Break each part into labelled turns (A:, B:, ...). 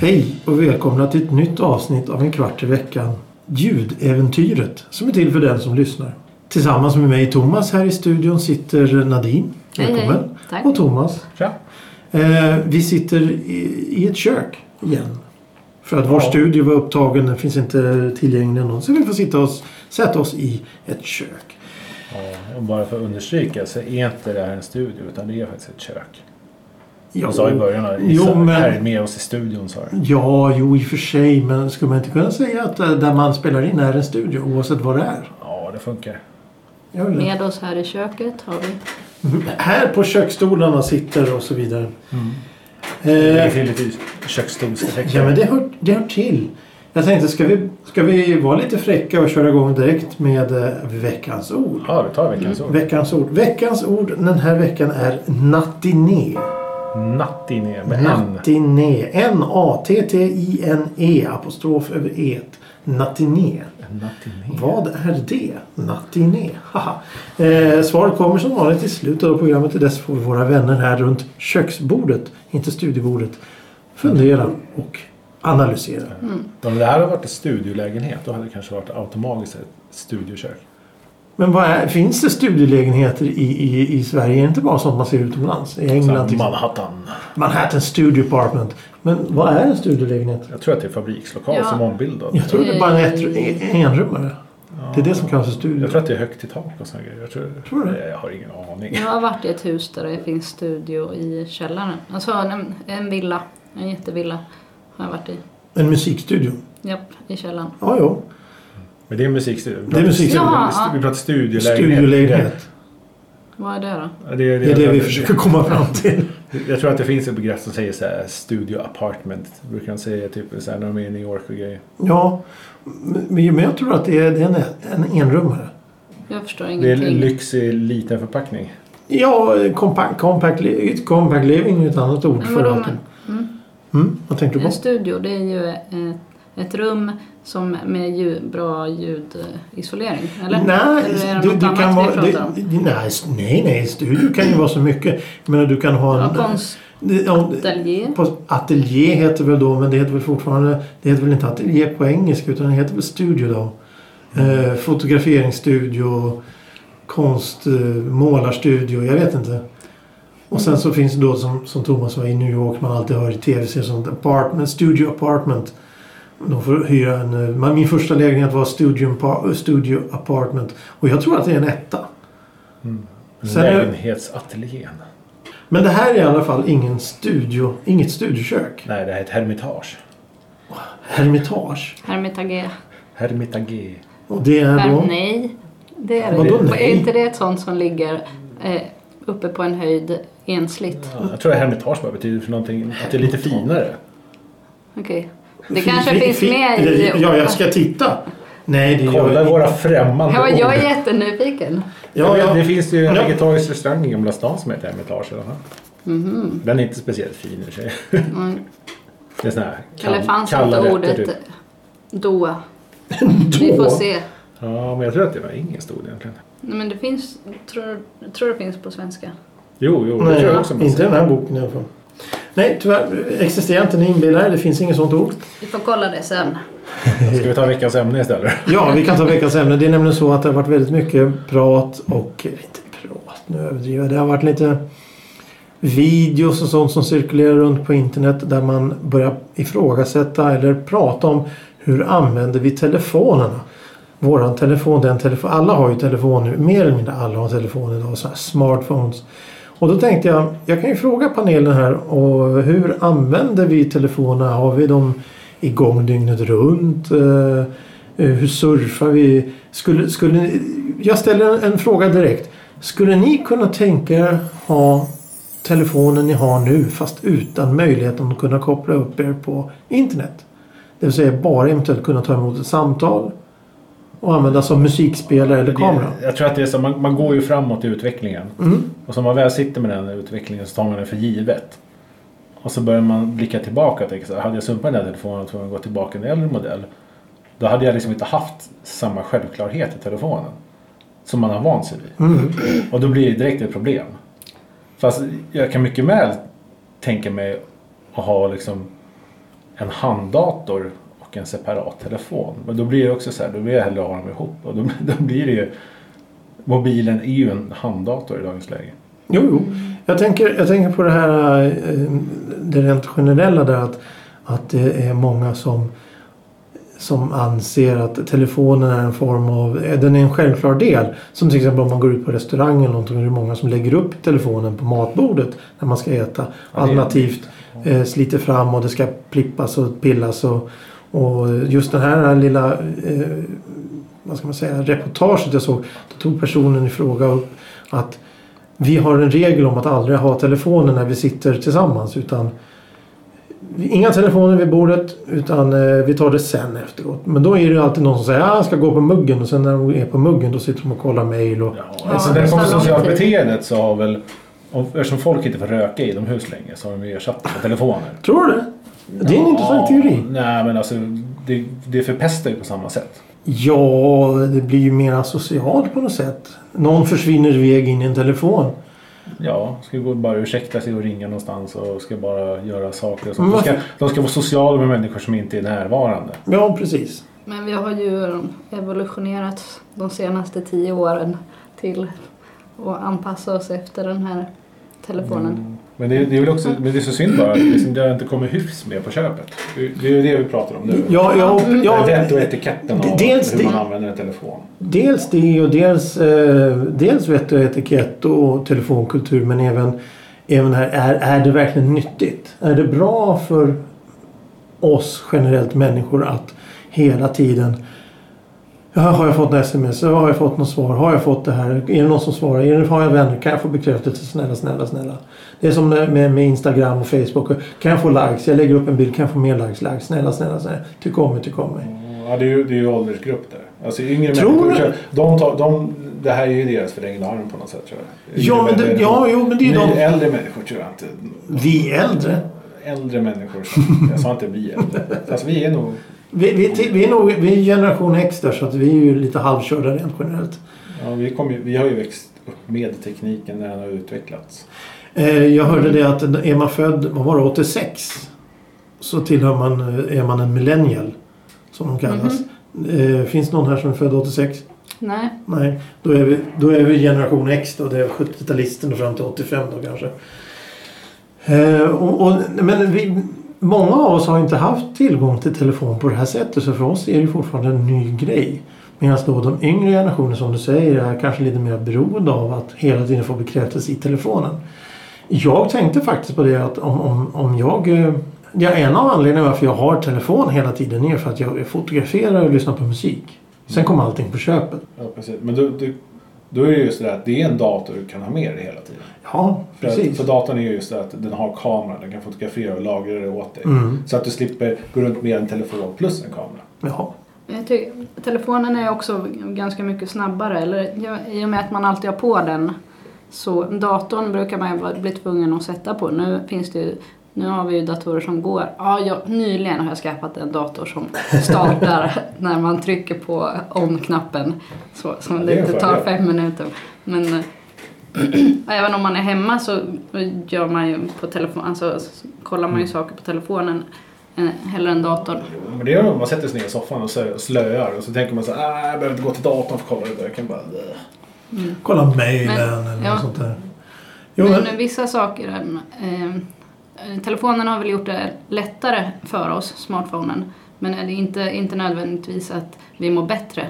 A: Hej och välkomna till ett nytt avsnitt av En kvart i veckan. Ljudäventyret som är till för den som lyssnar. Tillsammans med mig Thomas här i studion sitter Nadine.
B: Hej, hej.
A: Välkommen.
B: Tack.
A: Och Thomas.
C: Tja.
A: Eh, vi sitter i, i ett kök igen. För att vår
C: Ja.
A: studio var upptagen, den finns inte tillgänglig ännu. Så vi får sitta oss, sätta oss i ett kök.
C: Ja, och bara för att understryka så är inte det här en studio utan det är faktiskt ett kök.
A: Ja,
C: Jag sa i början att
A: Jo,
C: jo,
A: men-
C: här med oss i studion sa du.
A: Ja, jo i och för sig. Men skulle man inte kunna säga att eh, där man spelar in är en studio oavsett vad det är?
C: Ja, det funkar.
A: Gör det?
B: Med oss här i köket har vi...
A: Här på köksstolarna sitter och så vidare.
C: Mm. Lägger
A: Eh,
C: till lite köksstolseffekter.
A: ja men det hör, det hör till. Jag tänkte, ska vi, ska vi vara lite fräcka och köra igång direkt med eh, veckans ord?
C: Ja, vi tar veckans ord.
A: Veckans ord. Veckans ord den här veckan är nattiné.
C: Nattiné med N.
A: Nattiné. N-A-T-T-I-N-E apostrof över e. Nattiné.
C: Nattiné.
A: Vad är det? Nattiné. Haha. Eh, svaret kommer som vanligt i slutet av programmet. Till dess får våra vänner här runt köksbordet, inte studiebordet, fundera och analysera.
C: Om det här hade varit en studiolägenhet då hade det kanske varit automatiskt ett studiokök.
A: Men vad är, finns det studielägenheter i, i, i Sverige? Är det inte bara sånt man ser utomlands? I
C: Så
A: England
C: här,
A: till exempel.
C: Manhattan.
A: Manhattan Studio Apartment. Men vad är en studielägenhet?
C: Jag tror att det är fabrikslokal
B: Ja.
C: som ombildad.
A: Jag tror det är bara en ett- en- enrummare. Det är det som kallas för studio.
C: Jag tror att det är högt i tak och såna grejer. Jag, tror,
A: Tror du?
C: jag har ingen aning.
B: Jag har varit i ett hus där det finns studio i källaren. Alltså en, en villa, en jättevilla har jag varit i.
A: En musikstudio.
B: Japp, i källaren.
A: Ja, ja.
C: Men det är musikstudio. Vi
A: Det är
C: pratar
A: musikstudio.
C: studio-
B: Ja, ja.
C: Vi pratar studiolägenhet.
A: Studiolägenhet.
B: Vad är det då?
C: Ja, Det är det,
A: Det är det vi försöker komma fram till.
C: Jag tror att det finns ett begrepp som säger så här, studio apartment. Brukar de säga typ så här, när de är i New York och grejer.
A: Ja, men men jag tror att det är, det är en, en enrummare.
B: Jag förstår
C: Det är en
B: ingenting.
C: lyxig liten förpackning.
A: Ja, compact, compact, li- compact living är ett annat ord
B: Men
A: för
B: vadå,
A: allting.
B: mm.
A: Mm, vad tänkte du
B: En
A: på?
B: studio det är ju ett, ett rum som med ljud, bra ljudisolering, eller? eller är
A: Nej,
B: det
A: du,
B: något
A: du
B: annat
A: kan
B: vi
A: vara,
B: pratar om?
A: du, nej, s- nej, nej, studio kan ju vara så mycket. Jag menar, du kan ha
B: Ja,
A: en...
B: konstallier?
A: det- ja, det- på- Ateljé heter väl då, men det heter väl fortfarande... Det heter väl inte ateljé på engelska, utan det heter väl studio då. Eh, fotograferingsstudio, konst, eh, målarstudio, jag vet inte. Och sen så finns det då som, som Thomas var i New York, man alltid hör i tv-serier sånt, apartment, studio apartment. De får hyra en, eh, man- min första lägenhet var studio, apa- studio apartment och jag tror att det är en etta. Sen är-
C: Lägenhetsateljén.
A: Men det här är i alla fall ingen studio, inget studiokök.
C: Nej, det här är ett hermitage.
A: Hermitage.
B: Hermitage?
C: Hermitage.
A: Och det är
B: Herm,
A: då...
B: nej, det är det
A: Vadå
B: inte.
A: nej?
B: Är inte det ett sånt som ligger eh, uppe på en höjd ensligt?
C: Ja, jag tror att hermitage bara betyder för någonting, att det är lite finare.
B: Okej. Det
A: Fin-
B: kanske
A: fin-
B: finns
A: fin-
B: med i...
A: eller, Ja, jag ska titta. Nej, det gör
C: Kolla
A: jag
C: våra
A: inte.
C: främmande
B: Ja, jag är
C: ord.
B: jättenyfiken.
A: Ja,
C: Jag vet,
A: ja.
C: Det finns ju en
A: Ja.
C: vegetarisk restaurang i Gamla stan som heter Hermitage. i alla fall.
B: Mhm.
C: Den är inte speciellt fin i och för sig.
B: Mm.
C: Det är såna här kall,
B: Eller fanns
C: kalla
B: inte
C: rätter,
B: ordet
C: typ.
B: då?
A: Då.
B: Vi får se.
C: Ja, men jag tror att det var inget stod egentligen.
B: Nej, Men det finns... Tror, tror det finns på svenska.
C: Jo, jo, det
A: Nej,
C: tror jag också. man
A: inte
C: säger.
A: den här boken i alla fall. Nej, tyvärr. Existerar inte, ni inbillar er. Det finns inget sånt ord.
B: Vi får kolla det sen.
C: Ska vi ta veckans ämne istället?
A: Ja, vi kan ta veckans ämne. Det är nämligen så att det har varit väldigt mycket prat och... eh, Inte prat, nu överdriver jag. Det har varit lite videos och sånt som cirkulerar runt på internet där man börjar ifrågasätta eller prata om hur använder vi telefonerna? Våran telefon, den telefon. Alla har ju telefon nu. Mer eller mindre alla har telefon idag. Så här smartphones. Och då tänkte jag, jag kan ju fråga panelen här och hur använder vi telefonerna? Har vi dem igång dygnet runt? Eh, eh, Hur surfar vi? Skulle, skulle, ni- jag ställer en- en fråga direkt. Skulle ni kunna tänka er ha telefonen ni har nu fast utan möjligheten att kunna koppla upp er på internet? Det vill säga bara eventuellt kunna ta emot ett samtal och använda som musikspelare eller kamera.
C: Det- Jag tror att det är så, man, man går ju framåt i utvecklingen.
A: Mm.
C: Och så när man väl sitter med den utvecklingen så tar man den för givet. Och så börjar man blicka tillbaka och tänka så här, hade jag sumpat den här telefonen och tvungen att gå tillbaka till en äldre modell. Då hade jag liksom inte haft samma självklarhet i telefonen. Som man har vant sig vid.
A: Mm.
C: Och då blir det direkt ett problem. Fast jag kan mycket väl tänka mig att ha liksom en handdator och en separat telefon. Men då blir det också så här, då vill jag hellre ha dem ihop. Och då, då blir det ju, mobilen är ju en handdator i dagens läge.
A: Jo, jo. Jag tänker, jag tänker på det här eh, det rent generella där att, att det är många som, som anser att telefonen är en form av, eh, den är en självklar del. Som till exempel om man går ut på restaurang eller någonting, det är många som lägger upp telefonen på matbordet när man ska äta.
C: det-
A: Alternativt eh, sliter fram och det ska plippas och pillas och, och just den här lilla eh, vad ska man säga, reportaget jag såg. Då tog personen i fråga upp att vi har en regel om att aldrig ha telefoner när vi sitter tillsammans. Utan Inga telefoner vid bordet utan eh, vi tar det sen efteråt. Men då är det ju alltid någon som säger att jag ska gå på muggen och sen när de är på muggen då sitter de och kollar mejl. Och...
C: Ja,
B: Ja,
C: alltså när det kommer till
B: nästan
C: socialt
B: alltid.
C: beteendet så har väl om- Eftersom folk inte får röka inomhus längre så har de ju ersatt det med telefoner.
A: Tror du det? Det är en intressant teori.
C: Nej men alltså det, det förpestar ju på samma sätt.
A: Ja, det blir ju mer asocialt på något sätt. Någon försvinner iväg in i en telefon.
C: Ja, ska gå och bara ursäkta sig och ringa någonstans och ska bara göra saker och
A: Men
C: sånt. De ska,
A: varför-
C: de ska vara sociala med människor som inte är närvarande.
A: Ja, precis.
B: Men vi har ju evolutionerat de senaste tio åren till att anpassa oss efter den här
A: Mm.
B: telefonen.
C: Men det, det är väl också, men det är så synd bara att liksom, det har inte kommit hyfs med på köpet. Det är ju det vi pratar om nu.
A: Ja, ja, ja,
C: Det är vett och etiketten av
A: Dels
C: hur
A: det-
C: man använder en telefon.
A: Dels det och dels, eh, dels vett och etikett och telefonkultur men även, även här, är, är det verkligen nyttigt? Är det bra för oss generellt människor att hela tiden ja, har jag fått en sms? Ja, Har jag fått något svar? Har jag fått det här? Är det någon som svarar? Är det, har jag vänner? Kan jag få bekräftelse? Snälla, snälla, snälla. Det är som med, med Instagram och Facebook. Kan jag få likes? Jag lägger upp en bild. Kan jag få mer likes? likes? Snälla, snälla, snälla. Tyck om mig, tyck om mig.
C: Ja, det är ju, det är ju åldersgrupp där. Alltså yngre
A: Tror
C: människor.
A: du?
C: De tar, de, det här är ju deras förlängda arm på något sätt tror jag. Yngre
A: Ja, men det,
C: människor.
A: ja, jo, men det är
C: Ni
A: ju de...
C: Äldre människor tror jag inte.
A: Vi äldre?
C: Äldre människor. som- Jag sa inte vi äldre. Alltså vi är nog...
A: Vi, vi, ti- vi, är nog, vi är generation X där så att vi är ju lite halvkörda rent generellt.
C: Ja, vi, kom ju, vi har ju växt upp med tekniken när den har utvecklats.
A: Eh, jag hörde det att är man född, vad var det, 86? Så tillhör man, eh, är man en millennial. Som de kallas. eh, finns det någon här som är född 86?
B: Nej,
A: Nej, då är vi, då är vi generation X då. Det är 70-talisten och fram till 85 då kanske. Eh, och, och, men vi, många av oss har inte haft tillgång till telefon på det här sättet så för oss är det ju fortfarande en ny grej. Medan då de yngre generationer som du säger är kanske lite mer beroende av att hela tiden få bekräftelse i telefonen. Jag tänkte faktiskt på det att om, om, om jag... eh, Ja, en av anledningarna varför jag har telefon hela tiden är för att jag fotograferar och lyssnar på musik. Sen kom allting på köpet.
C: Ja, precis. Men då, då, då är det just det där att det är en dator du kan ha med dig hela tiden.
A: Ja,
C: För, att,
A: precis.
C: för datorn är ju just det att den har kamera. Den kan fotografera och lagra det åt dig.
A: Mm.
C: Så att du slipper gå runt med en telefon plus en kamera.
A: Ja.
B: Men jag tycker, telefonen är också ganska mycket snabbare. Eller, ja, I och med att man alltid har på den. Så datorn brukar man ju vara- bli tvungen att sätta på. Nu finns det ju, nu har vi ju datorer som går. Ja, jag, nyligen har jag skaffat en dator som startar när man trycker på on-knappen. Så, som
C: Ja,
B: det,
C: det är en
B: inte tar
C: fördel.
B: fem minuter. Men eh, även om man är hemma så gör man ju på telefon, alltså, s- kollar man ju
C: Mm.
B: saker på telefonen eh, hellre än datorn.
C: Men det är om man sätter sig ner i soffan och slö- slöar och så tänker man så här, "Ah, jag behöver inte gå till datorn för att kolla det där. Jag kan bara... "Bleh."
A: Kolla mejlen
B: Men,
A: eller
B: ja.
A: något sånt där. Jo, men,
B: men, eh, vissa saker... Eh, eh, telefonen har väl gjort det lättare för oss, smartphonen. Men är det inte, inte nödvändigtvis att vi mår bättre.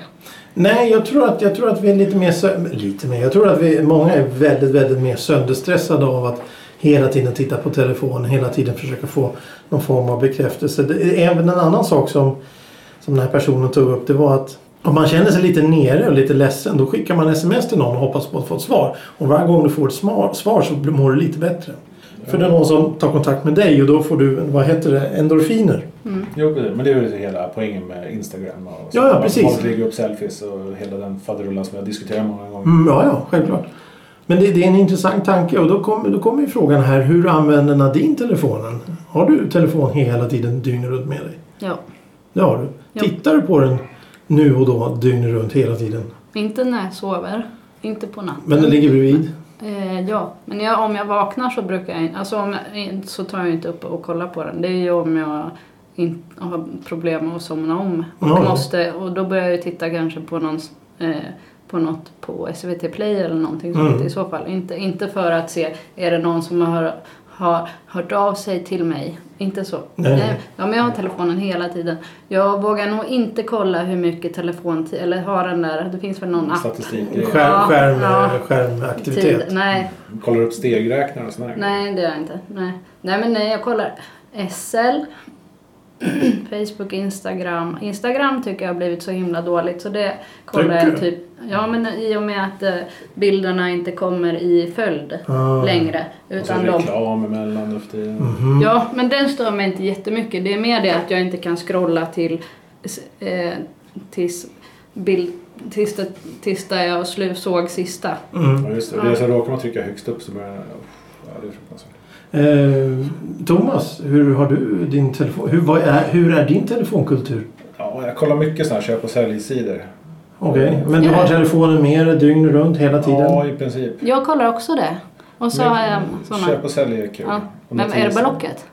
A: nej, jag tror, att, jag tror att vi är lite mer... sö- Lite mer. Jag tror att vi, många är väldigt, väldigt mer sönderstressade av att hela tiden titta på telefonen, hela tiden försöka få någon form av bekräftelse. Det är även en annan sak som, som den här personen tog upp. Det var att om man känner sig lite nere och lite ledsen då skickar man sms till någon och hoppas på att få ett svar. Och varje gång du får ett smar, svar så mår du lite bättre. För det är någon som tar kontakt med dig och då får du, vad heter det, endorfiner.
C: Jo, precis. Men det är ju hela poängen med Instagram och
A: Ja, ja, precis.
C: Folk lägger upp selfies och hela den faderullan som jag har diskuterat många gånger.
A: Mm, ja, ja, självklart. Men det, det är en intressant tanke och då kommer då kommer ju frågan här. Hur använder Nadine telefonen? Har du telefon hela tiden dygnet runt med dig?
B: Ja.
A: Det har du.
B: Ja.
A: Tittar du på den nu och då dygnet runt hela tiden?
B: Inte när jag sover. Inte på natten.
A: Men den ligger bredvid?
B: Eh, ja, men jag, om jag vaknar så brukar jag in- alltså om jag, in- så tar jag inte upp och kollar på den. Det är ju om jag in, har problem med att somna om. Och,
A: Ja.
B: måste, och då börjar jag ju titta kanske på, någon, eh, på något på SVT Play eller någonting sånt
A: Mm.
B: i så fall. Inte, inte för att se, är det någon som har, har hört av sig till mig? Inte så.
A: Nej.
B: Ja, men jag har telefonen hela tiden. Jag vågar nog inte kolla hur mycket telefon, eller ha den där, det finns väl någon
A: Mm.
B: app.
C: Statistik.
A: Skär,
B: Ja,
A: skärm,
B: ja.
A: Skärmaktivitet.
B: Tid. Nej,
C: Kollar upp stegräknare och sådär.
B: Nej, det gör jag inte. Nej, nej men nej, jag kollar SL. Facebook, Instagram. Instagram tycker jag har blivit så himla dåligt så det kollar
A: Tycker
B: jag
A: du?
B: typ... Ja men i och med att eh, bilderna inte kommer i följd
A: Ah.
B: längre.
C: Och så är
B: Utan
C: Alltså, det
B: de...
C: reklam emellan nu för tiden.
A: Mhm.
B: Ja, men den stör mig inte jättemycket. Det är mer det att jag inte kan scrolla till... Eh, tills, bild, tills, det, tills där jag slu, såg sista.
A: Mm.
C: Ja, just det. det är så råkar man trycka högst upp så börjar Uff, ja, det är fruktansvärt.
A: Eh, Thomas, hur har du din telefon? Hur, vad är, hur är din telefonkultur?
C: Ja, jag kollar mycket sådana här köp och säljsidor.
A: Okej, men du har telefonen med dig dygnet runt hela tiden?
C: Ja, i princip.
B: Jag kollar också det. Och så
C: Men
B: har jag såna...
C: Köp och sälj är kul.
B: Ja.
C: Och
B: Men är det
C: finns-
B: Blocket?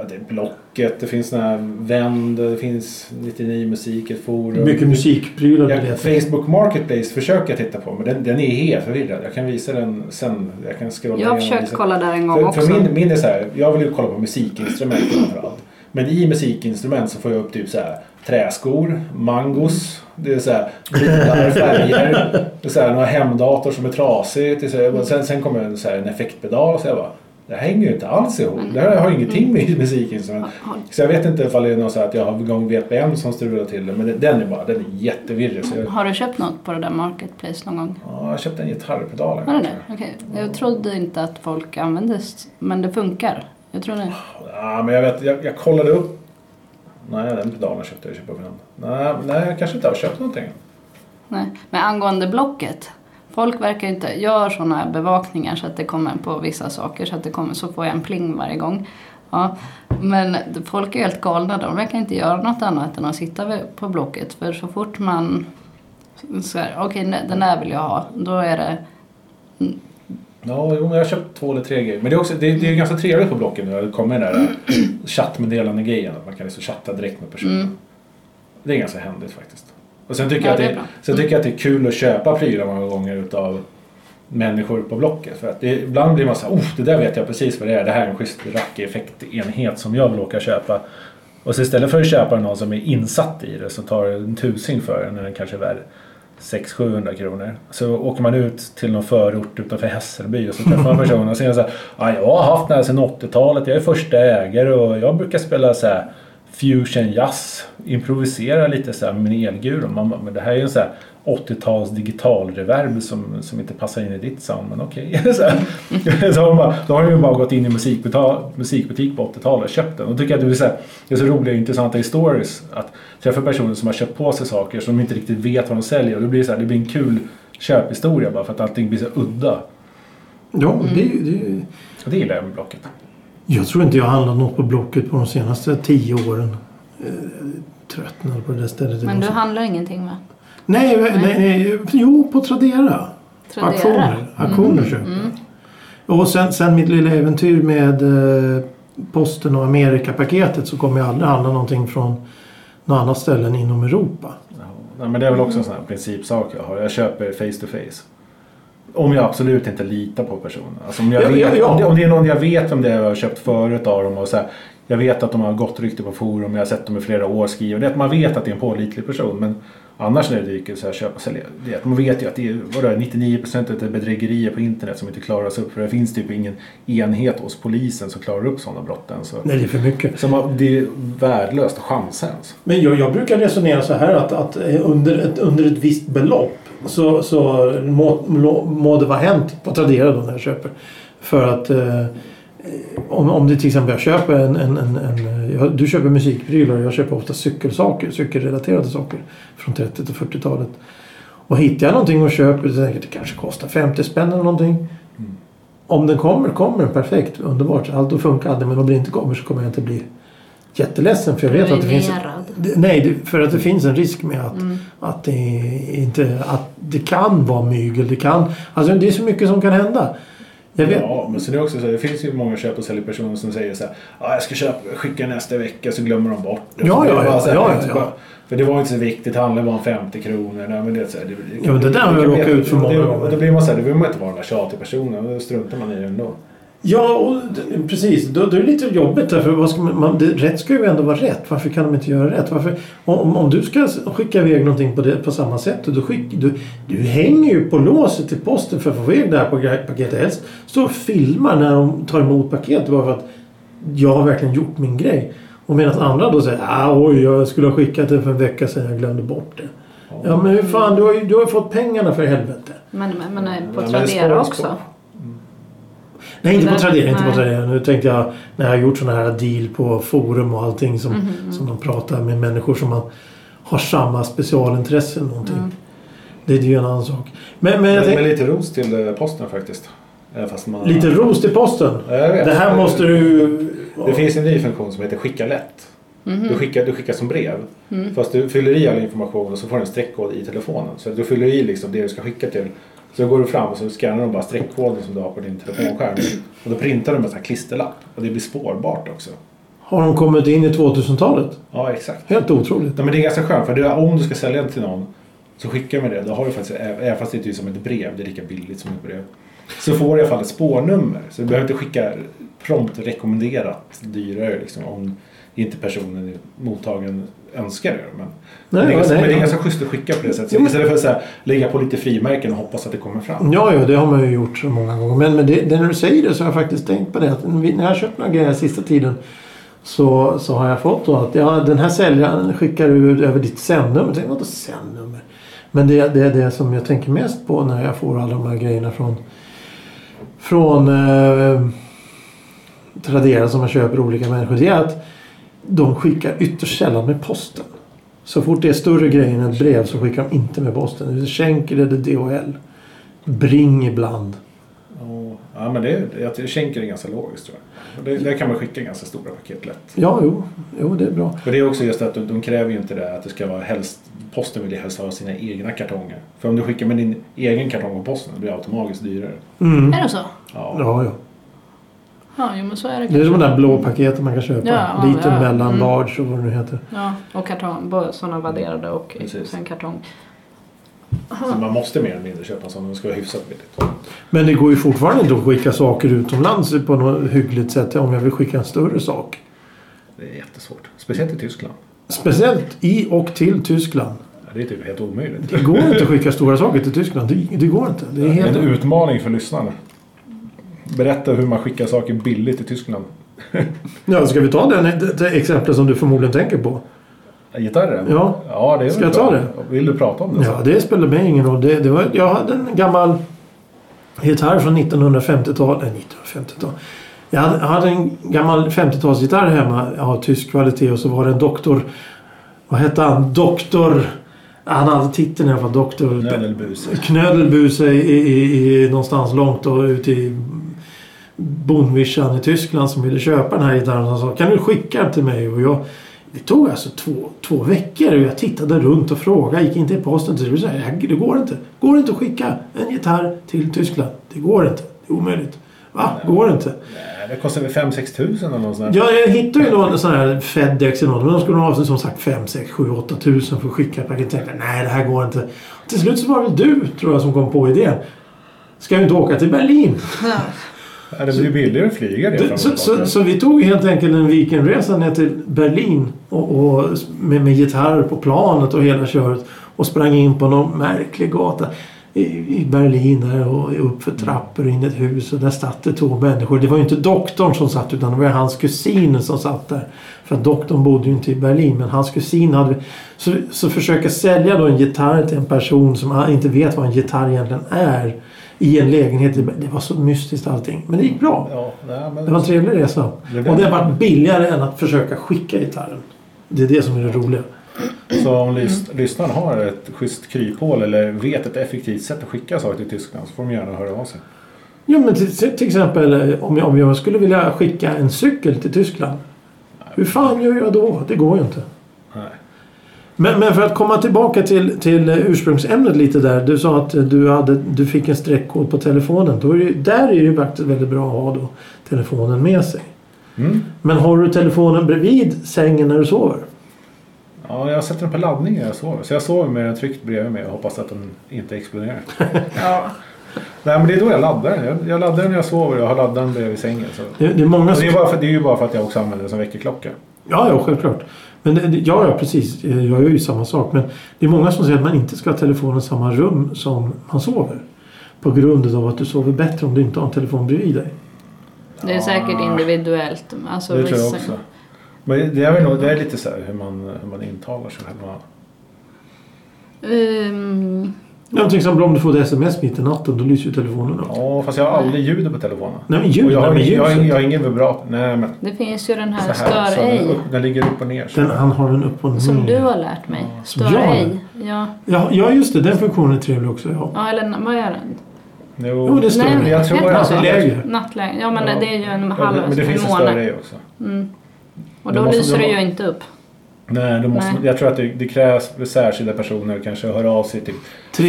C: Ja, det är Blocket, det finns såna här Vänd, det finns 99 Musik, ett forum.
A: Mycket musikprylar du
C: Jag,
A: letar
C: Facebook Marketplace försöker jag titta på men den, den är helt förvirrad. Jag kan visa den sen. Jag kan
B: Jag
C: scrolla igenom
B: har
C: och
B: försökt
C: visa.
B: kolla där en gång
C: För,
B: också.
C: för min, min är så här, jag vill ju kolla på musikinstrument framförallt. Men i musikinstrument så får jag upp typ så här, träskor, mangos, det är så här, bilar, färger, det är så här, några hemdator som är trasig. Det är så här, och sen, sen kommer en, så här, en effektpedal så jag bara, det här hänger ju inte alls ihop. Det här har ju ingenting
B: Mm.
C: med musikinstrument. Så jag vet inte ifall det är något så här att jag har igång VPN som strular till det. Men den är bara, den är jättevirrig. Så jag,
B: Har du köpt något på det där Marketplace någon gång?
C: ja, jag köpte en gitarrpedal. en
B: Har du
C: gång,
B: det? Okej. Jag trodde inte att folk använde s- men det funkar. Jag tror det.
C: Ja, men jag vet, jag, jag kollade upp. Nej, den pedalen köpte jag ju på min hand. Nej, nej, jag kanske inte har köpt någonting.
B: Nej. Men angående Blocket. Folk verkar ju inte... Jag har sådana bevakningar så att det kommer på vissa saker så att det kommer så får jag en pling varje gång. Ja. Men folk är ju helt galna. De verkar inte göra något annat än att sitta vid- på Blocket. För så fort man... så här, Okej, nej, den där vill jag ha. Då är det...
C: Ja, jo, men jag har köpt två eller tre grejer. Men det är, också, det, är- det är ganska trevligt på Blocket nu. Det kommer den där chattmeddelande-grejen. Att man kan liksom chatta direkt med personen. Det är ganska händigt faktiskt. Och sen tycker,
B: Mm. Ja,
C: jag, att
B: det är
C: det,
B: bra.
C: sen tycker jag att det är kul att köpa prylar många gånger utav människor på Blocket. För att det, ibland blir man så här, oh, det där vet jag precis vad det är. Det här är en schysst rackeffektenhet som jag vill åka och köpa. Och så istället för att köpa någon som är insatt i det så tar det en tusing för den när den kanske är värd 600-700 kronor. Så åker man ut till någon förort utanför Hässelby och så träffar man personen och säger så här, ja, jag har haft den här sedan 80-talet, jag är första ägare och jag brukar spela så här fusion jazz, improvisera lite så här med min elguru. Man bara, men det här är ju en så här 80-tals digital reverb som, som inte passar in i ditt sound, men okej. så här. så har de bara, då har de ju bara gått in i musikbuta- musikbutik på 80-talet och köpt den. Och tycker jag att det är så, här, det är så roliga och intressanta stories att träffa personer som har köpt på sig saker som inte riktigt vet vad de säljer. Och det blir, så här, det blir en kul köphistoria bara för att allting blir så udda.
A: Ja, det, är
B: Mm.
A: ju- det, är ju-
C: Och det gillar jag med Blocket.
A: jag tror inte jag har handlat något på Blocket på de senaste tio åren. Eh, Tröttnade på det där stället.
B: Men du handlar ingenting va?
A: Nej, nej, nej, jo på Tradera.
B: Tradera. Mm,
A: Auktioner, auktioner köper jag. Och sen, sen mitt lilla äventyr med eh, Posten och Amerika-paketet så kommer jag aldrig handla någonting från några andra ställen inom Europa.
C: Nej, men det är väl också en sån här principsak jag har. Jag köper face to face. Om jag absolut inte litar på personen. Alltså om, jag
A: Ja,
C: vet,
A: ja, ja.
C: Om, det, om det är någon jag vet om det är och jag har köpt förut av dem. Och så här, jag vet att de har gott rykte på forum. Jag har sett dem i flera år skriva. Det är att man vet att det är en pålitlig person. Men annars när det dyker så här köp och sälj. Det är att man vet ju att det är vadå, 99% av bedrägerier på internet som inte klaras upp. För det finns typ ingen enhet hos polisen som klarar upp sådana brott än. Så,
A: Nej, det är för mycket.
C: så man, det är värdelöst att chansa ens.
A: Men jag, jag brukar resonera så här att, att eh, under, ett, under ett visst belopp så, så må, må, må det vara hänt på Tradera då när jag köper. För att eh, om, om det till exempel jag köper en... en, en, en jag, du köper musikprylar och jag köper ofta cykelsaker, cykelrelaterade saker från 30 till 40-talet. Och hittar jag någonting och köper, så tänker jag, det kanske kostar 50 spänn eller någonting. Om den kommer, kommer den. Perfekt, underbart. Allt funkar alltid. Men om den inte kommer så kommer jag inte bli jätteledsen. För jag vet att det finns...
B: Ruinerad.
A: Det- Nej, det- för att det finns en risk med att, att, det, inte, att det kan vara mygel. Det, kan, alltså det är så mycket som kan hända. Jag vet.
C: Ja, men sen är det också så här, det finns ju många köp och säljpersoner som säger så här, ja jag ska köpa, skicka nästa vecka så glömmer de bort det.
A: Ja,
C: Så det
A: ja,
C: är bara
A: ja,
C: så här,
A: ja, ja,
C: så
A: ja.
C: bara, För det var ju inte så viktigt, det handlade bara om 50 kronor. Nej, men det, är så här, det, det,
A: Ja, men det där har jag
C: kan
A: råkat
C: bli-
A: ut för många
C: det-
A: gånger.
C: Då blir man så här, då vill man inte vara den där tjatiga personen. Då struntar man i det ändå.
A: Ja, och, d- precis. Då, då är det lite jobbigt därför vad ska man, man, det, rätt ska ju ändå vara rätt. Varför kan de inte göra rätt? Varför, om, om- om du ska s- skicka iväg någonting på, det, på samma sätt. och Du, skick, du, du hänger ju på låset till posten för att få iväg det här pa- paketet. Helst står och filmar när de tar emot paketet bara för att jag har verkligen gjort min grej. Och medan andra då säger ah, oj, jag skulle ha skickat det för en vecka sedan. Jag glömde bort det. Ja, men hur fan, du har ju du har ju fått pengarna för helvete.
B: Men, men, men eh, på
C: Ja, men
B: Tradera
C: spår-
B: också.
A: Nej, inte på
B: Nej,
A: Tradera. Inte på
B: nej.
A: Tradera. Nu tänkte jag när jag har gjort sådana här deal på forum och allting som, som de pratar med människor som man har samma specialintresse eller någonting. Det är ju en annan sak. Men, men jag
C: Men, men
A: tänkte,
C: lite ros till eh, posten faktiskt. Även Fast man,
A: lite ros till posten.
C: Ja, jag vet.
A: Det här måste du...
C: Det finns en ny funktion som heter skicka lätt. Du, skickar, du skickar som brev. Fast du fyller i all information och så får du en streckkod i telefonen. Så att du fyller i liksom det du ska skicka till. Så går du fram och så skannar de bara streckkoden som du har på din telefonskärm. Och då printar de en sån här klisterlapp. Och det blir spårbart också.
A: Har de kommit in i 2000-talet?
C: Ja, exakt.
A: Helt otroligt.
C: Nej, men det är ganska skönt för det, om du ska sälja till någon så skickar man det. Då har du faktiskt, ä- även fast det inte är typ som ett brev, det är lika billigt som ett brev. Så får du i alla fall ett spårnummer. Så du behöver inte skicka prompt rekommenderat dyrare liksom, om inte personen, i mottagaren önskar det. Men, men det, är ganska,
A: nej,
C: men det
A: ja.
C: är ganska schysst att skicka på det sättet.
A: Jo, men- Mm.
C: Istället för att så här, lägga på lite frimärken och hoppas att det kommer fram.
A: Ja, ja, det har man ju gjort så många gånger. Men, men det, det, när du säger det så har jag faktiskt tänkt på det. Att när vi- när jag har köpt några grejer sista tiden så, så har jag fått då att ja, den här säljaren skickar ut över ditt sändnummer. Tänk vadå sändnummer? Men det är det, är det som jag tänker mest på när jag får alla de här grejerna från, från eh, Tradera som jag köper olika människor. Det är att de skickar ytterst sällan med posten. Så fort det är större grejer än ett brev så skickar de inte med posten. Det är Schenker eller DHL. Bring ibland.
C: Och, ja, men det, jag tänker det är ganska logiskt tror jag. Och Det, där kan man skicka ganska stora paket lätt.
A: Ja, jo, jo det är bra.
C: Och det är också just att de, de kräver ju inte det att det ska vara helst, posten vill ju helst ha sina egna kartonger. För om du skickar med din egen kartong på posten blir det automatiskt dyrare.
A: Mm.
B: Är det så?
C: Ja.
A: Ja, ja.
B: Ja, jo, men så är det
A: Det är
B: kanske.
A: som de där blå paketen man kan köpa.
B: Ja,
A: Liten,
B: ja,
A: mellan,
B: mm.
A: large och vad det nu heter.
B: Ja, och kartong. Både sådana vadderade och
C: Precis.
B: sen kartong.
C: Så man måste mer eller mindre köpa en sån om det ska vara hyfsat billigt.
A: Men det går ju fortfarande inte att skicka saker utomlands på något hyggligt sätt om jag vill skicka en större sak.
C: Det är jättesvårt. Speciellt i Tyskland.
A: Speciellt i och till Tyskland.
C: Ja, Det är typ helt omöjligt.
A: Det går inte att skicka stora saker till Tyskland. Det, det går inte. Det är helt...
C: En utmaning för lyssnarna. Berätta hur man skickar saker billigt i Tyskland.
A: Ja, ska vi ta den, det, det exemplet som du förmodligen tänker på?
C: Gitarren?
A: Ja.
C: ja det är
A: Ska
C: väl
A: jag ta
C: bra. Vill du prata om det?
A: Ja, det spelar mig ingen roll. Det, det var, jag hade en gammal gitarr från 1950-talet. Nej, 1950-tal. Jag hade, jag hade en gammal 50-talsgitarr hemma av tysk kvalitet och så var det en doktor... Vad hette han? Doktor... Han hade titeln i alla fall. Doktor...
C: Nödelbuse.
A: Knödelbuse i, i, i, någonstans långt då, ute i Bonvischan i Tyskland som ville köpa den här gitarren. Han sa kan du skicka den till mig? Och jag, det tog alltså två, två veckor och jag tittade runt och frågade. Gick inte i posten. Så jag sa, "Nej, det går inte. Går det inte att skicka en gitarr till Tyskland? Det går inte. Det är omöjligt. Va? Går det inte?
C: Nej, Det kostar väl 5-6 tusen eller något sånt där.
A: Ja, jag hittade ju någon sån här Fedex eller något. Men de skulle nog ha som sagt 5, 6, 7, 8 tusen för att skicka ett paket. Jag tänkte, nej det här går inte. Till slut så var det väl du tror jag som kom på idén. Ska vi inte åka till Berlin?
C: Ja. Det blir billigare att flyga det. fram och
A: Så,
C: tillbaka.
A: så, så vi tog helt enkelt en weekendresa ner till Berlin och, och med, med gitarr på planet och hela köret. Och sprang in på någon märklig gata i, i Berlin där och upp för trappor och in i ett hus och där satt det två människor. Det var ju inte doktorn som satt utan det var hans kusin som satt där. För att doktorn bodde ju inte i Berlin men hans kusin hade... Så, så försöka sälja då en gitarr till en person som inte vet vad en gitarr egentligen är i en lägenhet. i Berlin. Det var så mystiskt allting. Men det gick bra.
C: Ja, nej, men...
A: Det var en trevlig resa.
C: Det blev-
A: Och det har varit billigare än att försöka skicka gitarren. Det är det som är det roliga.
C: Så om lys- lyssnaren har ett schysst kryphål eller vet ett effektivt sätt att skicka saker till Tyskland så får de gärna höra av sig.
A: Jo, men till, till exempel eh, om jag, om jag skulle vilja skicka en cykel till Tyskland. Hur fan gör jag då? Det går ju inte.
C: Nej.
A: Men, men för att komma tillbaka till, till eh, ursprungsämnet lite där. Du sa att eh, du, hade, du fick en streckkod på telefonen. Då är det, där är det ju faktiskt väldigt bra att ha då telefonen med sig.
C: Mm.
A: Men har du telefonen bredvid sängen när du sover?
C: Ja, jag sätter den på laddning när jag sover. Så jag sover med den tryckt bredvid mig och hoppas att den inte exploderar.
B: Ja.
C: Nej, men det är då jag laddar den. Jag, jag laddar den när jag sover och jag har laddaren bredvid sängen. Så.
A: Det, det är många
C: Och
A: som...
C: det, är bara för, det är ju bara för att jag också använder den som väckarklocka.
A: Ja, ja, självklart. Men det, det- ja, ja, precis. Eh, Jag gör ju samma sak. Men det är många som säger att man inte ska ha telefonen i samma rum som man sover. På grund av att du sover bättre om du inte har en telefon bredvid dig.
B: Det är säkert individuellt. Alltså,
C: det tror jag
B: vissa-
C: också. Men det är, väl nog, det är lite så här hur man, hur man intalar sig själv.
B: Ehm,
A: Ja, till exempel om du får ett sms mitt i natten, då lyser ju telefonen upp.
C: Ja, fast jag har aldrig ljudet på telefonen.
A: Nej, men ljud,
C: Och jag, har,
A: nej, men
C: ingen- jag, har,
A: ljuset.
C: ingen- jag har ingen vibrator. Nej, men
B: det finns ju den
C: så
B: här,
C: här.
B: stör
C: Så den,
B: ej.
C: upp, den ligger upp och ner. Så.
A: Den, han har den upp och ner.
B: Som du har lärt mig. Stör
A: Mm. Ja.
B: ej. Ja.
A: Ja, ja, just det. Den funktionen är trevlig också. Ja.
B: ja, eller vad är den?
C: Jo,
A: Jo, det står
B: Nej,
A: det.
C: jag tror
B: heter
C: alltså,
B: den så?
A: lägre.
B: Nattläge. Ja, men
C: Ja.
B: det är ju en
C: Ja,
B: halv
C: men det finns en
B: månad.
C: större också.
B: Mm. Och
C: Då
B: då
C: måste-
B: lyser
C: då
B: det ju
C: må-
B: inte upp.
C: Nej, då måste,
B: Nej.
C: jag tror att det, det krävs för särskilda personer kanske höra av sig. Typ. Fem,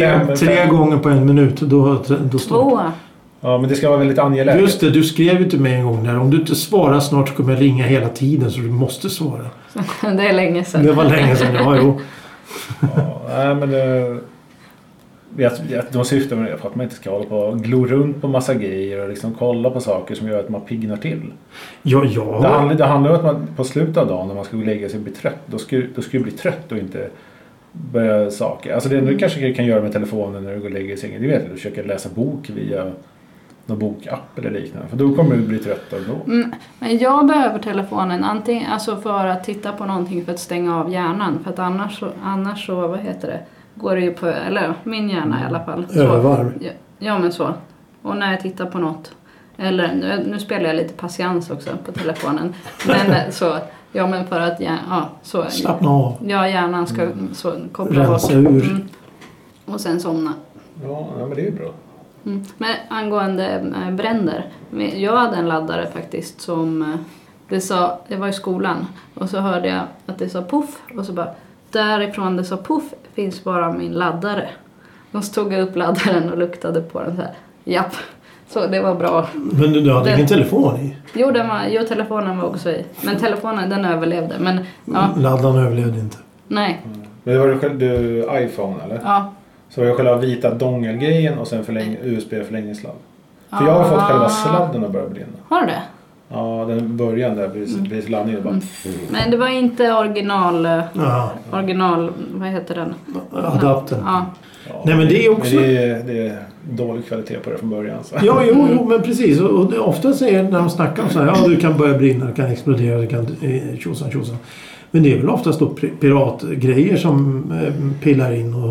A: Tre,
C: fem.
A: tre gånger på en minut, då, då står
B: Två.
C: Ja, men det ska vara väldigt
A: det.
C: angeläget.
A: Just det, du skrev ju till mig en gång där. Om du inte svarar snart så kommer jag ringa hela tiden så du måste svara.
B: Det är länge sedan.
A: Det var länge sedan. Ja, jo.
C: Ja, nej, men det, jag, jag, de syftar med det för att man inte ska hålla på och glo runt på massa grejer och liksom kolla på saker som gör att man pignar till.
A: Ja, jag
C: Det,
A: har...
C: handlar, det handlar om att man på slutet av dagen när man ska gå och lägga sig och bli trött, då ska, du- då ska du bli trött och inte börja saker. Alltså det enda du kanske kan göra med telefonen när du går och lägger dig i sängen, det vet jag, du försöker läsa bok via någon bokapp eller liknande. För då kommer du bli trött ändå.
B: Mm, Men jag behöver telefonen antingen alltså för att titta på någonting för att stänga av hjärnan. För att annars så, annars så vad heter det, går det ju på, eller ja, min hjärna i alla fall. Så,
A: Övervarv.
B: ja, ja men så. Och när jag tittar på något. Eller nu, nu spelar jag lite patiens också på telefonen. Men eh, så, ja men för att hjär- ja, så,
A: Slappna av.
B: ja, hjärnan ska så, koppla
A: Rensa ur.
B: Mm. Och sen somna.
C: Ja, ja, men det är ju bra.
B: Mm. Men angående eh, bränder. men Jag hade en laddare faktiskt som eh, det sa, jag var i skolan och så hörde jag att det sa puff och så bara därifrån det sa puff finns bara min laddare. Och så tog jag upp laddaren och luktade på den så här. Japp, så det var bra.
A: Men du, du hade
B: Det-
A: ingen telefon i?
B: Jo, den var, jo telefonen var också i. Men telefonen den överlevde. Men ja,
A: Laddaren överlevde inte.
B: nej.
C: Men det var du, själv- du iPhone eller?
B: Ja.
C: Så var det själva vita dongelgrejen och sen förläng, USB-förlängningssladd. För jag har fått själva sladden att börja brinna.
B: Har du det?
C: Ja, den början där precis precis laddningen bara...
B: Men det var inte original, eh,
A: Ja,
B: original, vad heter den?
A: adaptern.
B: Ja.
C: Ja,
A: Nej, men det är också-
C: men det, är, det är dålig kvalitet på det från början. Så.
A: Ja, jo, jo, men precis. Och- Och det- ofta säger när de snackar om så här, ja du kan börja brinna, du kan explodera, du kan eh, tjosan tjosan. Men det är väl oftast då pri- piratgrejer som eh, pillar in och,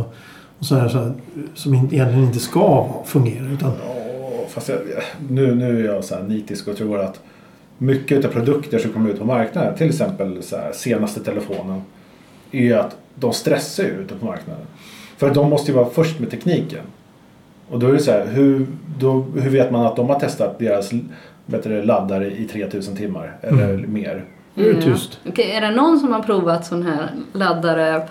A: och så här, så här som in- egentligen inte ska fungera. Utan,
B: Mm.
C: Ja, Fast jag, nu, nu är jag så här nitisk och tror att mycket av produkter som kommer ut på marknaden, till exempel så här, senaste telefonen, är ju att de stressar ju ute på marknaden. För att de måste ju vara först med tekniken. Och då är det så här, hur, då, hur vet man att de har testat deras bättre laddare i 3000 timmar eller
A: Mm.
C: mer?
A: Nu är
C: Mm.
A: det tyst.
B: Ja. Mm. Okej, är det någon som har provat sån här laddare?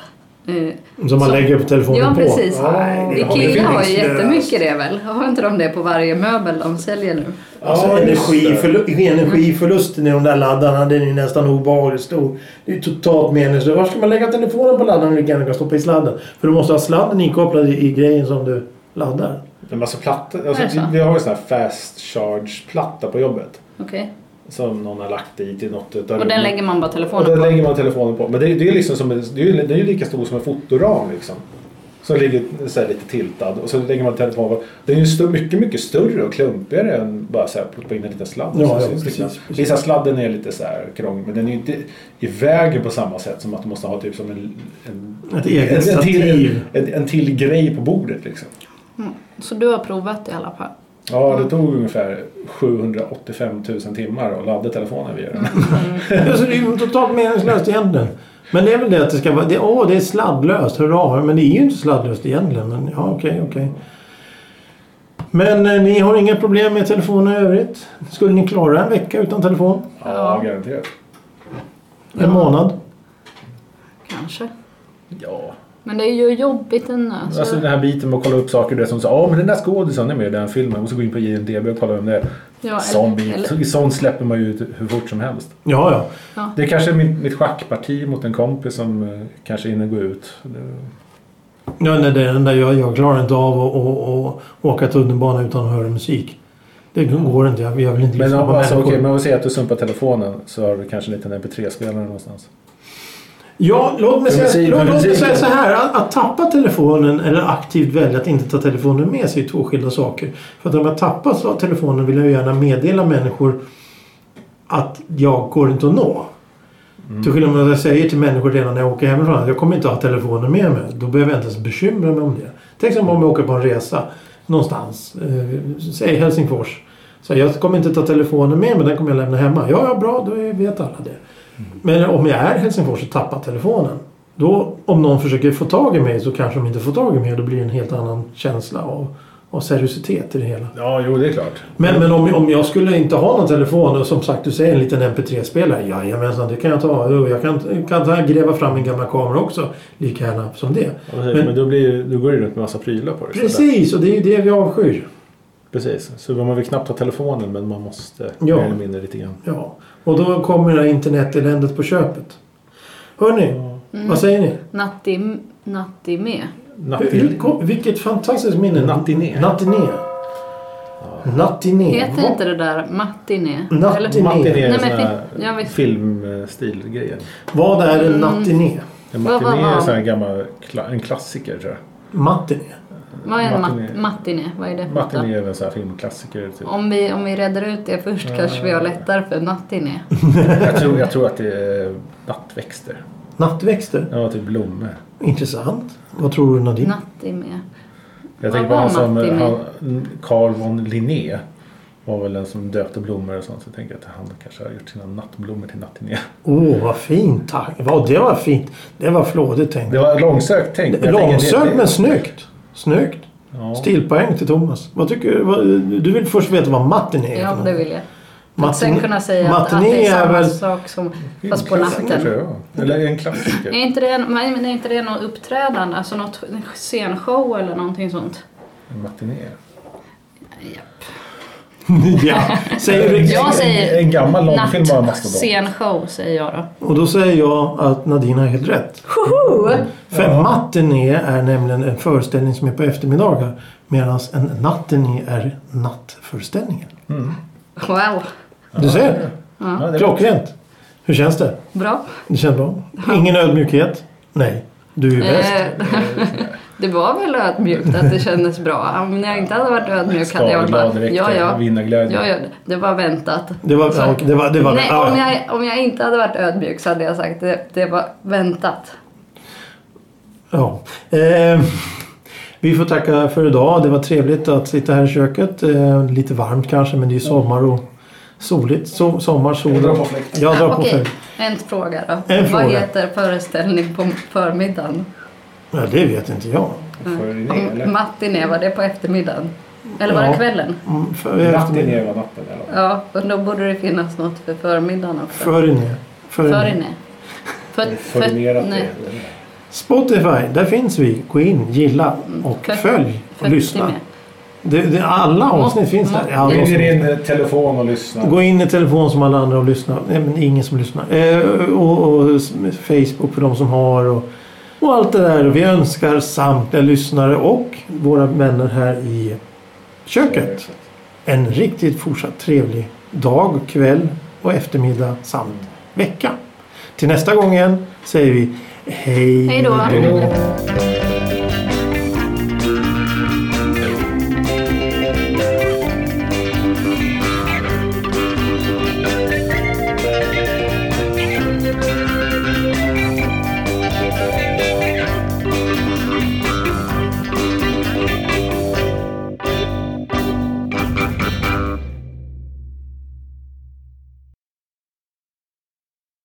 B: Eh,
A: Som man
B: Så-
A: lägger telefonen
B: ja,
A: på.
B: precis.
C: Ja, det har vi
B: Ikea har ju
C: finns.
B: jättemycket det väl? Har inte de det på varje möbel de säljer nu?
A: Alltså
C: Ja, just det.
A: energiförlu- energiförlusten i de där laddarna den är ju nästan obehagligt stor. Det är ju totalt meningslöst. Var ska man lägga telefonen på laddaren om du lika gärna kan stoppa i sladden? För du måste ha sladden inkopplad i, i grejen som du laddar.
C: Men alltså plattor,
B: Är det
C: alltså,
B: så?
C: vi, vi har ju sån här fast charge-platta på jobbet.
B: Okej.
C: Som någon har lagt i till något utav
B: Och den
C: rummen.
B: lägger man bara
C: Och
B: telefonen
C: den
B: på?
C: lägger man telefonen på. Men det, är- det är liksom som en, det är, ju- det är ju lika stor som en fotoram liksom. Som ligger så här lite tiltad och så lägger man telefonen på. Den är ju stö- mycket, mycket större och klumpigare än bara så här ploppa in en liten sladd.
A: Ja,
C: Så
A: ja,
C: syns det
A: precis,
C: knappt.
A: precis.
C: Vissa sladden är lite så här krånglig men den är ju inte i vägen på samma sätt som att du måste ha typ som en, en,
A: Ett eget
C: en, en, till,
A: stativ.
C: en, en till grej på bordet liksom.
B: Så du har provat det i alla fall?
C: Ja, det tog ungefär 785 000 timmar att ladda telefonen via
B: Mm.
C: den.
A: Alltså, det är ju totalt meningslöst egentligen. Men det är väl det att det ska vara... det- Åh, det är sladdlöst. Hurra. Men det är ju inte sladdlöst egentligen. Men ja, okej, okej. Men eh, ni har inga problem med telefonen i övrigt? Skulle ni klara en vecka utan telefon?
C: Ja, garanterat.
A: En månad?
B: Kanske.
C: Ja,
B: Men det är ju jobbigt ändå. Alltså,
C: alltså den här biten med att kolla upp saker. Det är som så, ja men den där skådisen är med i den filmen. Och så gå in på JNDB och kolla vem det är.
B: ja, eller-
C: Sån bit.
B: eller-
C: Så- Sånt släpper man ju ut hur fort som helst.
A: Ja, ja.
B: ja.
C: Det är kanske mitt, mitt schackparti mot en kompis som eh, kanske hinner gå ut.
A: ja nej, det är den där jag, jag klarar inte av att och, och åka tunnelbana utan att höra musik. Det går inte. Jag, jag vill inte
C: Men
A: lyssna
C: om,
A: på
C: alltså,
A: människor.
C: okej, men om vi säger att du sumpar telefonen så har du kanske en liten mp3-spelare någonstans.
A: Ja, låt mig säga,
C: För musik-
A: låt,
C: för
A: låt mig
C: musiken.
A: säga så här. Att, att tappa telefonen eller aktivt välja att inte ta telefonen med sig är två skilda saker. För att om jag tappar så- telefonen vill jag ju gärna meddela människor att jag går inte att nå. Till skillnad mot vad jag säger till människor redan när jag åker hemifrån att jag kommer inte ha telefonen med mig. Då behöver jag inte ens bekymra mig om det. Tänk som om jag åker på en resa någonstans. Eh, säg Helsingfors. Så jag kommer inte ta telefonen med mig, den kommer jag lämna hemma. Ja, ja bra, då är- vet alla det. Men om jag är i Helsingfors och tappar telefonen. Då, om någon försöker få tag i mig så kanske de inte får tag i mig. Då blir det en helt annan känsla av, av seriositet i det hela.
C: Ja, jo det är klart.
A: Men, men om, om jag skulle inte ha någon telefon och som sagt du säger en liten MP3-spelare. Jajamensan, det kan jag ta. Jo, Jag kan, kan ta, gräva fram en gammal kamera också. Lika gärna som det.
C: Men, men då, blir, ju- då går det ju runt med massa prylar på det. istället.
A: Precis, och det är ju det vi avskyr.
C: Precis. Så man vill knappt ha telefonen men man måste
A: Ja.
C: mer eller mindre lite grann.
A: Ja. Och då kommer det här interneteländet på köpet. Hörni,
B: Mm.
A: vad
C: Alltså-
A: säger ni?
B: Natti, natti med.
C: Nattil-
A: Vil- kom- Vilket fantastiskt minne.
C: Nattiné.
A: Nattiné. Nattiné.
B: Heter
A: Vad-
B: inte det där matiné?
A: Natti-
C: Matiné är
B: Nej,
C: en
B: men
C: sån här
B: fin- ja, visst.
C: filmstilgrejer.
A: Vad är
B: Mm.
A: en nattiné?
C: En
B: Vad var
C: matiné är en
B: han?
C: sån här gammal kla- en klassiker tror jag.
A: Matiné?
B: Vad är en
C: Matiné.
B: mat- matiné? Vad är det? för något då?
C: Matiné är en sån här filmklassiker. Typ.
B: Om vi, om vi reder ut det först kanske vi har lättare för nattiné.
C: Jag, tror, jag tror att det är nattväxter.
A: Nattväxter?
C: Ja, typ blommor.
A: Intressant. Vad tror du Nadine?
B: Natti med.
C: Jag
B: Vad
C: tänker på han
B: var
C: som...
B: Matti med?
C: han- Carl von Linné var väl den som döpte blommor och sånt. Så jag tänker att han kanske har gjort sina nattblommor till nattiné.
A: Åh, vad fint. Tack. Vad det var fint. Det var flådigt tänkt.
C: Det var långsökt tänkt. men jag tänker det-
A: Långsökt
C: det-
A: men snyggt. Snyggt.
C: Ja.
A: Stilpoäng till Thomas. Vad tycker du? Vad, du vill först veta vad matiné är
B: Ja,
A: för
B: det
A: något.
B: vill jag. Att sen kunna säga att, att
A: matiné
B: det är
A: är
B: samma
A: väl... Mm.
B: sak som fast på
C: Filmklassiker,
B: natten.
C: tror jag. Eller en klassiker.
B: Är inte, det, en- nej, men är inte det något uppträdande? Alltså något en scenshow eller någonting sånt?
C: En matiné.
A: ja. Säger du...
B: Jag säger
C: En, en gammal långfilm av
B: Natt,
C: Mastodon.
B: scenshow säger jag då.
A: Och då säger jag att Nadine har helt rätt. För en matiné är nämligen en föreställning som är på eftermiddagar. Medan en nattiné är nattföreställningen.
B: Wow,
A: Du ser?
C: Ja, det är-
A: Klockrent. Hur känns det?
B: bra.
A: Det känns bra. Ingen ödmjukhet? Nej. Du är ju bäst.
B: Eh, det var väl ödmjukt att det kändes bra. Om jag inte hade varit ödmjuk hade jag varit
C: Skadeglad
B: bara...
C: direkt.
B: Ja, ja.
C: Vinnarglädje.
B: Ja, ja, det var väntat.
A: Det var...
B: Så-
A: ja, okej, det var, det var
B: Nej,
A: ja,
B: om
A: ja.
B: jag, om jag inte hade varit ödmjuk så hade jag sagt det, det var väntat.
A: Ja. Eh, vi får tacka för idag. Det var trevligt att sitta här i köket. Eh, lite varmt kanske men det är ju sommar och soligt. So sommar, sol
C: Jag drar på
A: och-
C: fläkten.
A: Jag drar på
B: Okej,
A: fläkten.
B: en fråga då.
A: En
B: Vad
A: fråga.
B: heter föreställning på förmiddagen?
A: Ja, det vet inte jag.
C: För
B: Mm.
C: Linné, eller?
B: Matiné, var det på eftermiddagen? Eller var
A: Ja.
B: det kvällen?
A: Mm, För,
C: Matiné var natten eller?
B: Ja, och då borde det finnas något för förmiddagen också.
A: För in er. För in er.
B: Förinne. För,
C: Furinerat
B: nej.
C: det.
A: Spotify, där finns vi. Gå in, gilla och
B: För-
A: följ och
B: För-
A: lyssna.
B: timme.
A: Det, det, alla avsnitt finns där. Alla
C: Ring
A: avsnitt.
C: din eh, telefon och lyssna.
A: Gå in i telefon som alla andra och lyssna. Nej, men det är ingen som lyssnar. Eh, och, och s- Facebook för de som har. Och, och allt det där. Vi önskar samtliga lyssnare och våra vänner här i köket en riktigt fortsatt trevlig dag, kväll och eftermiddag samt vecka. Till nästa gång igen säger vi hej
B: Hej då.
C: Hej då.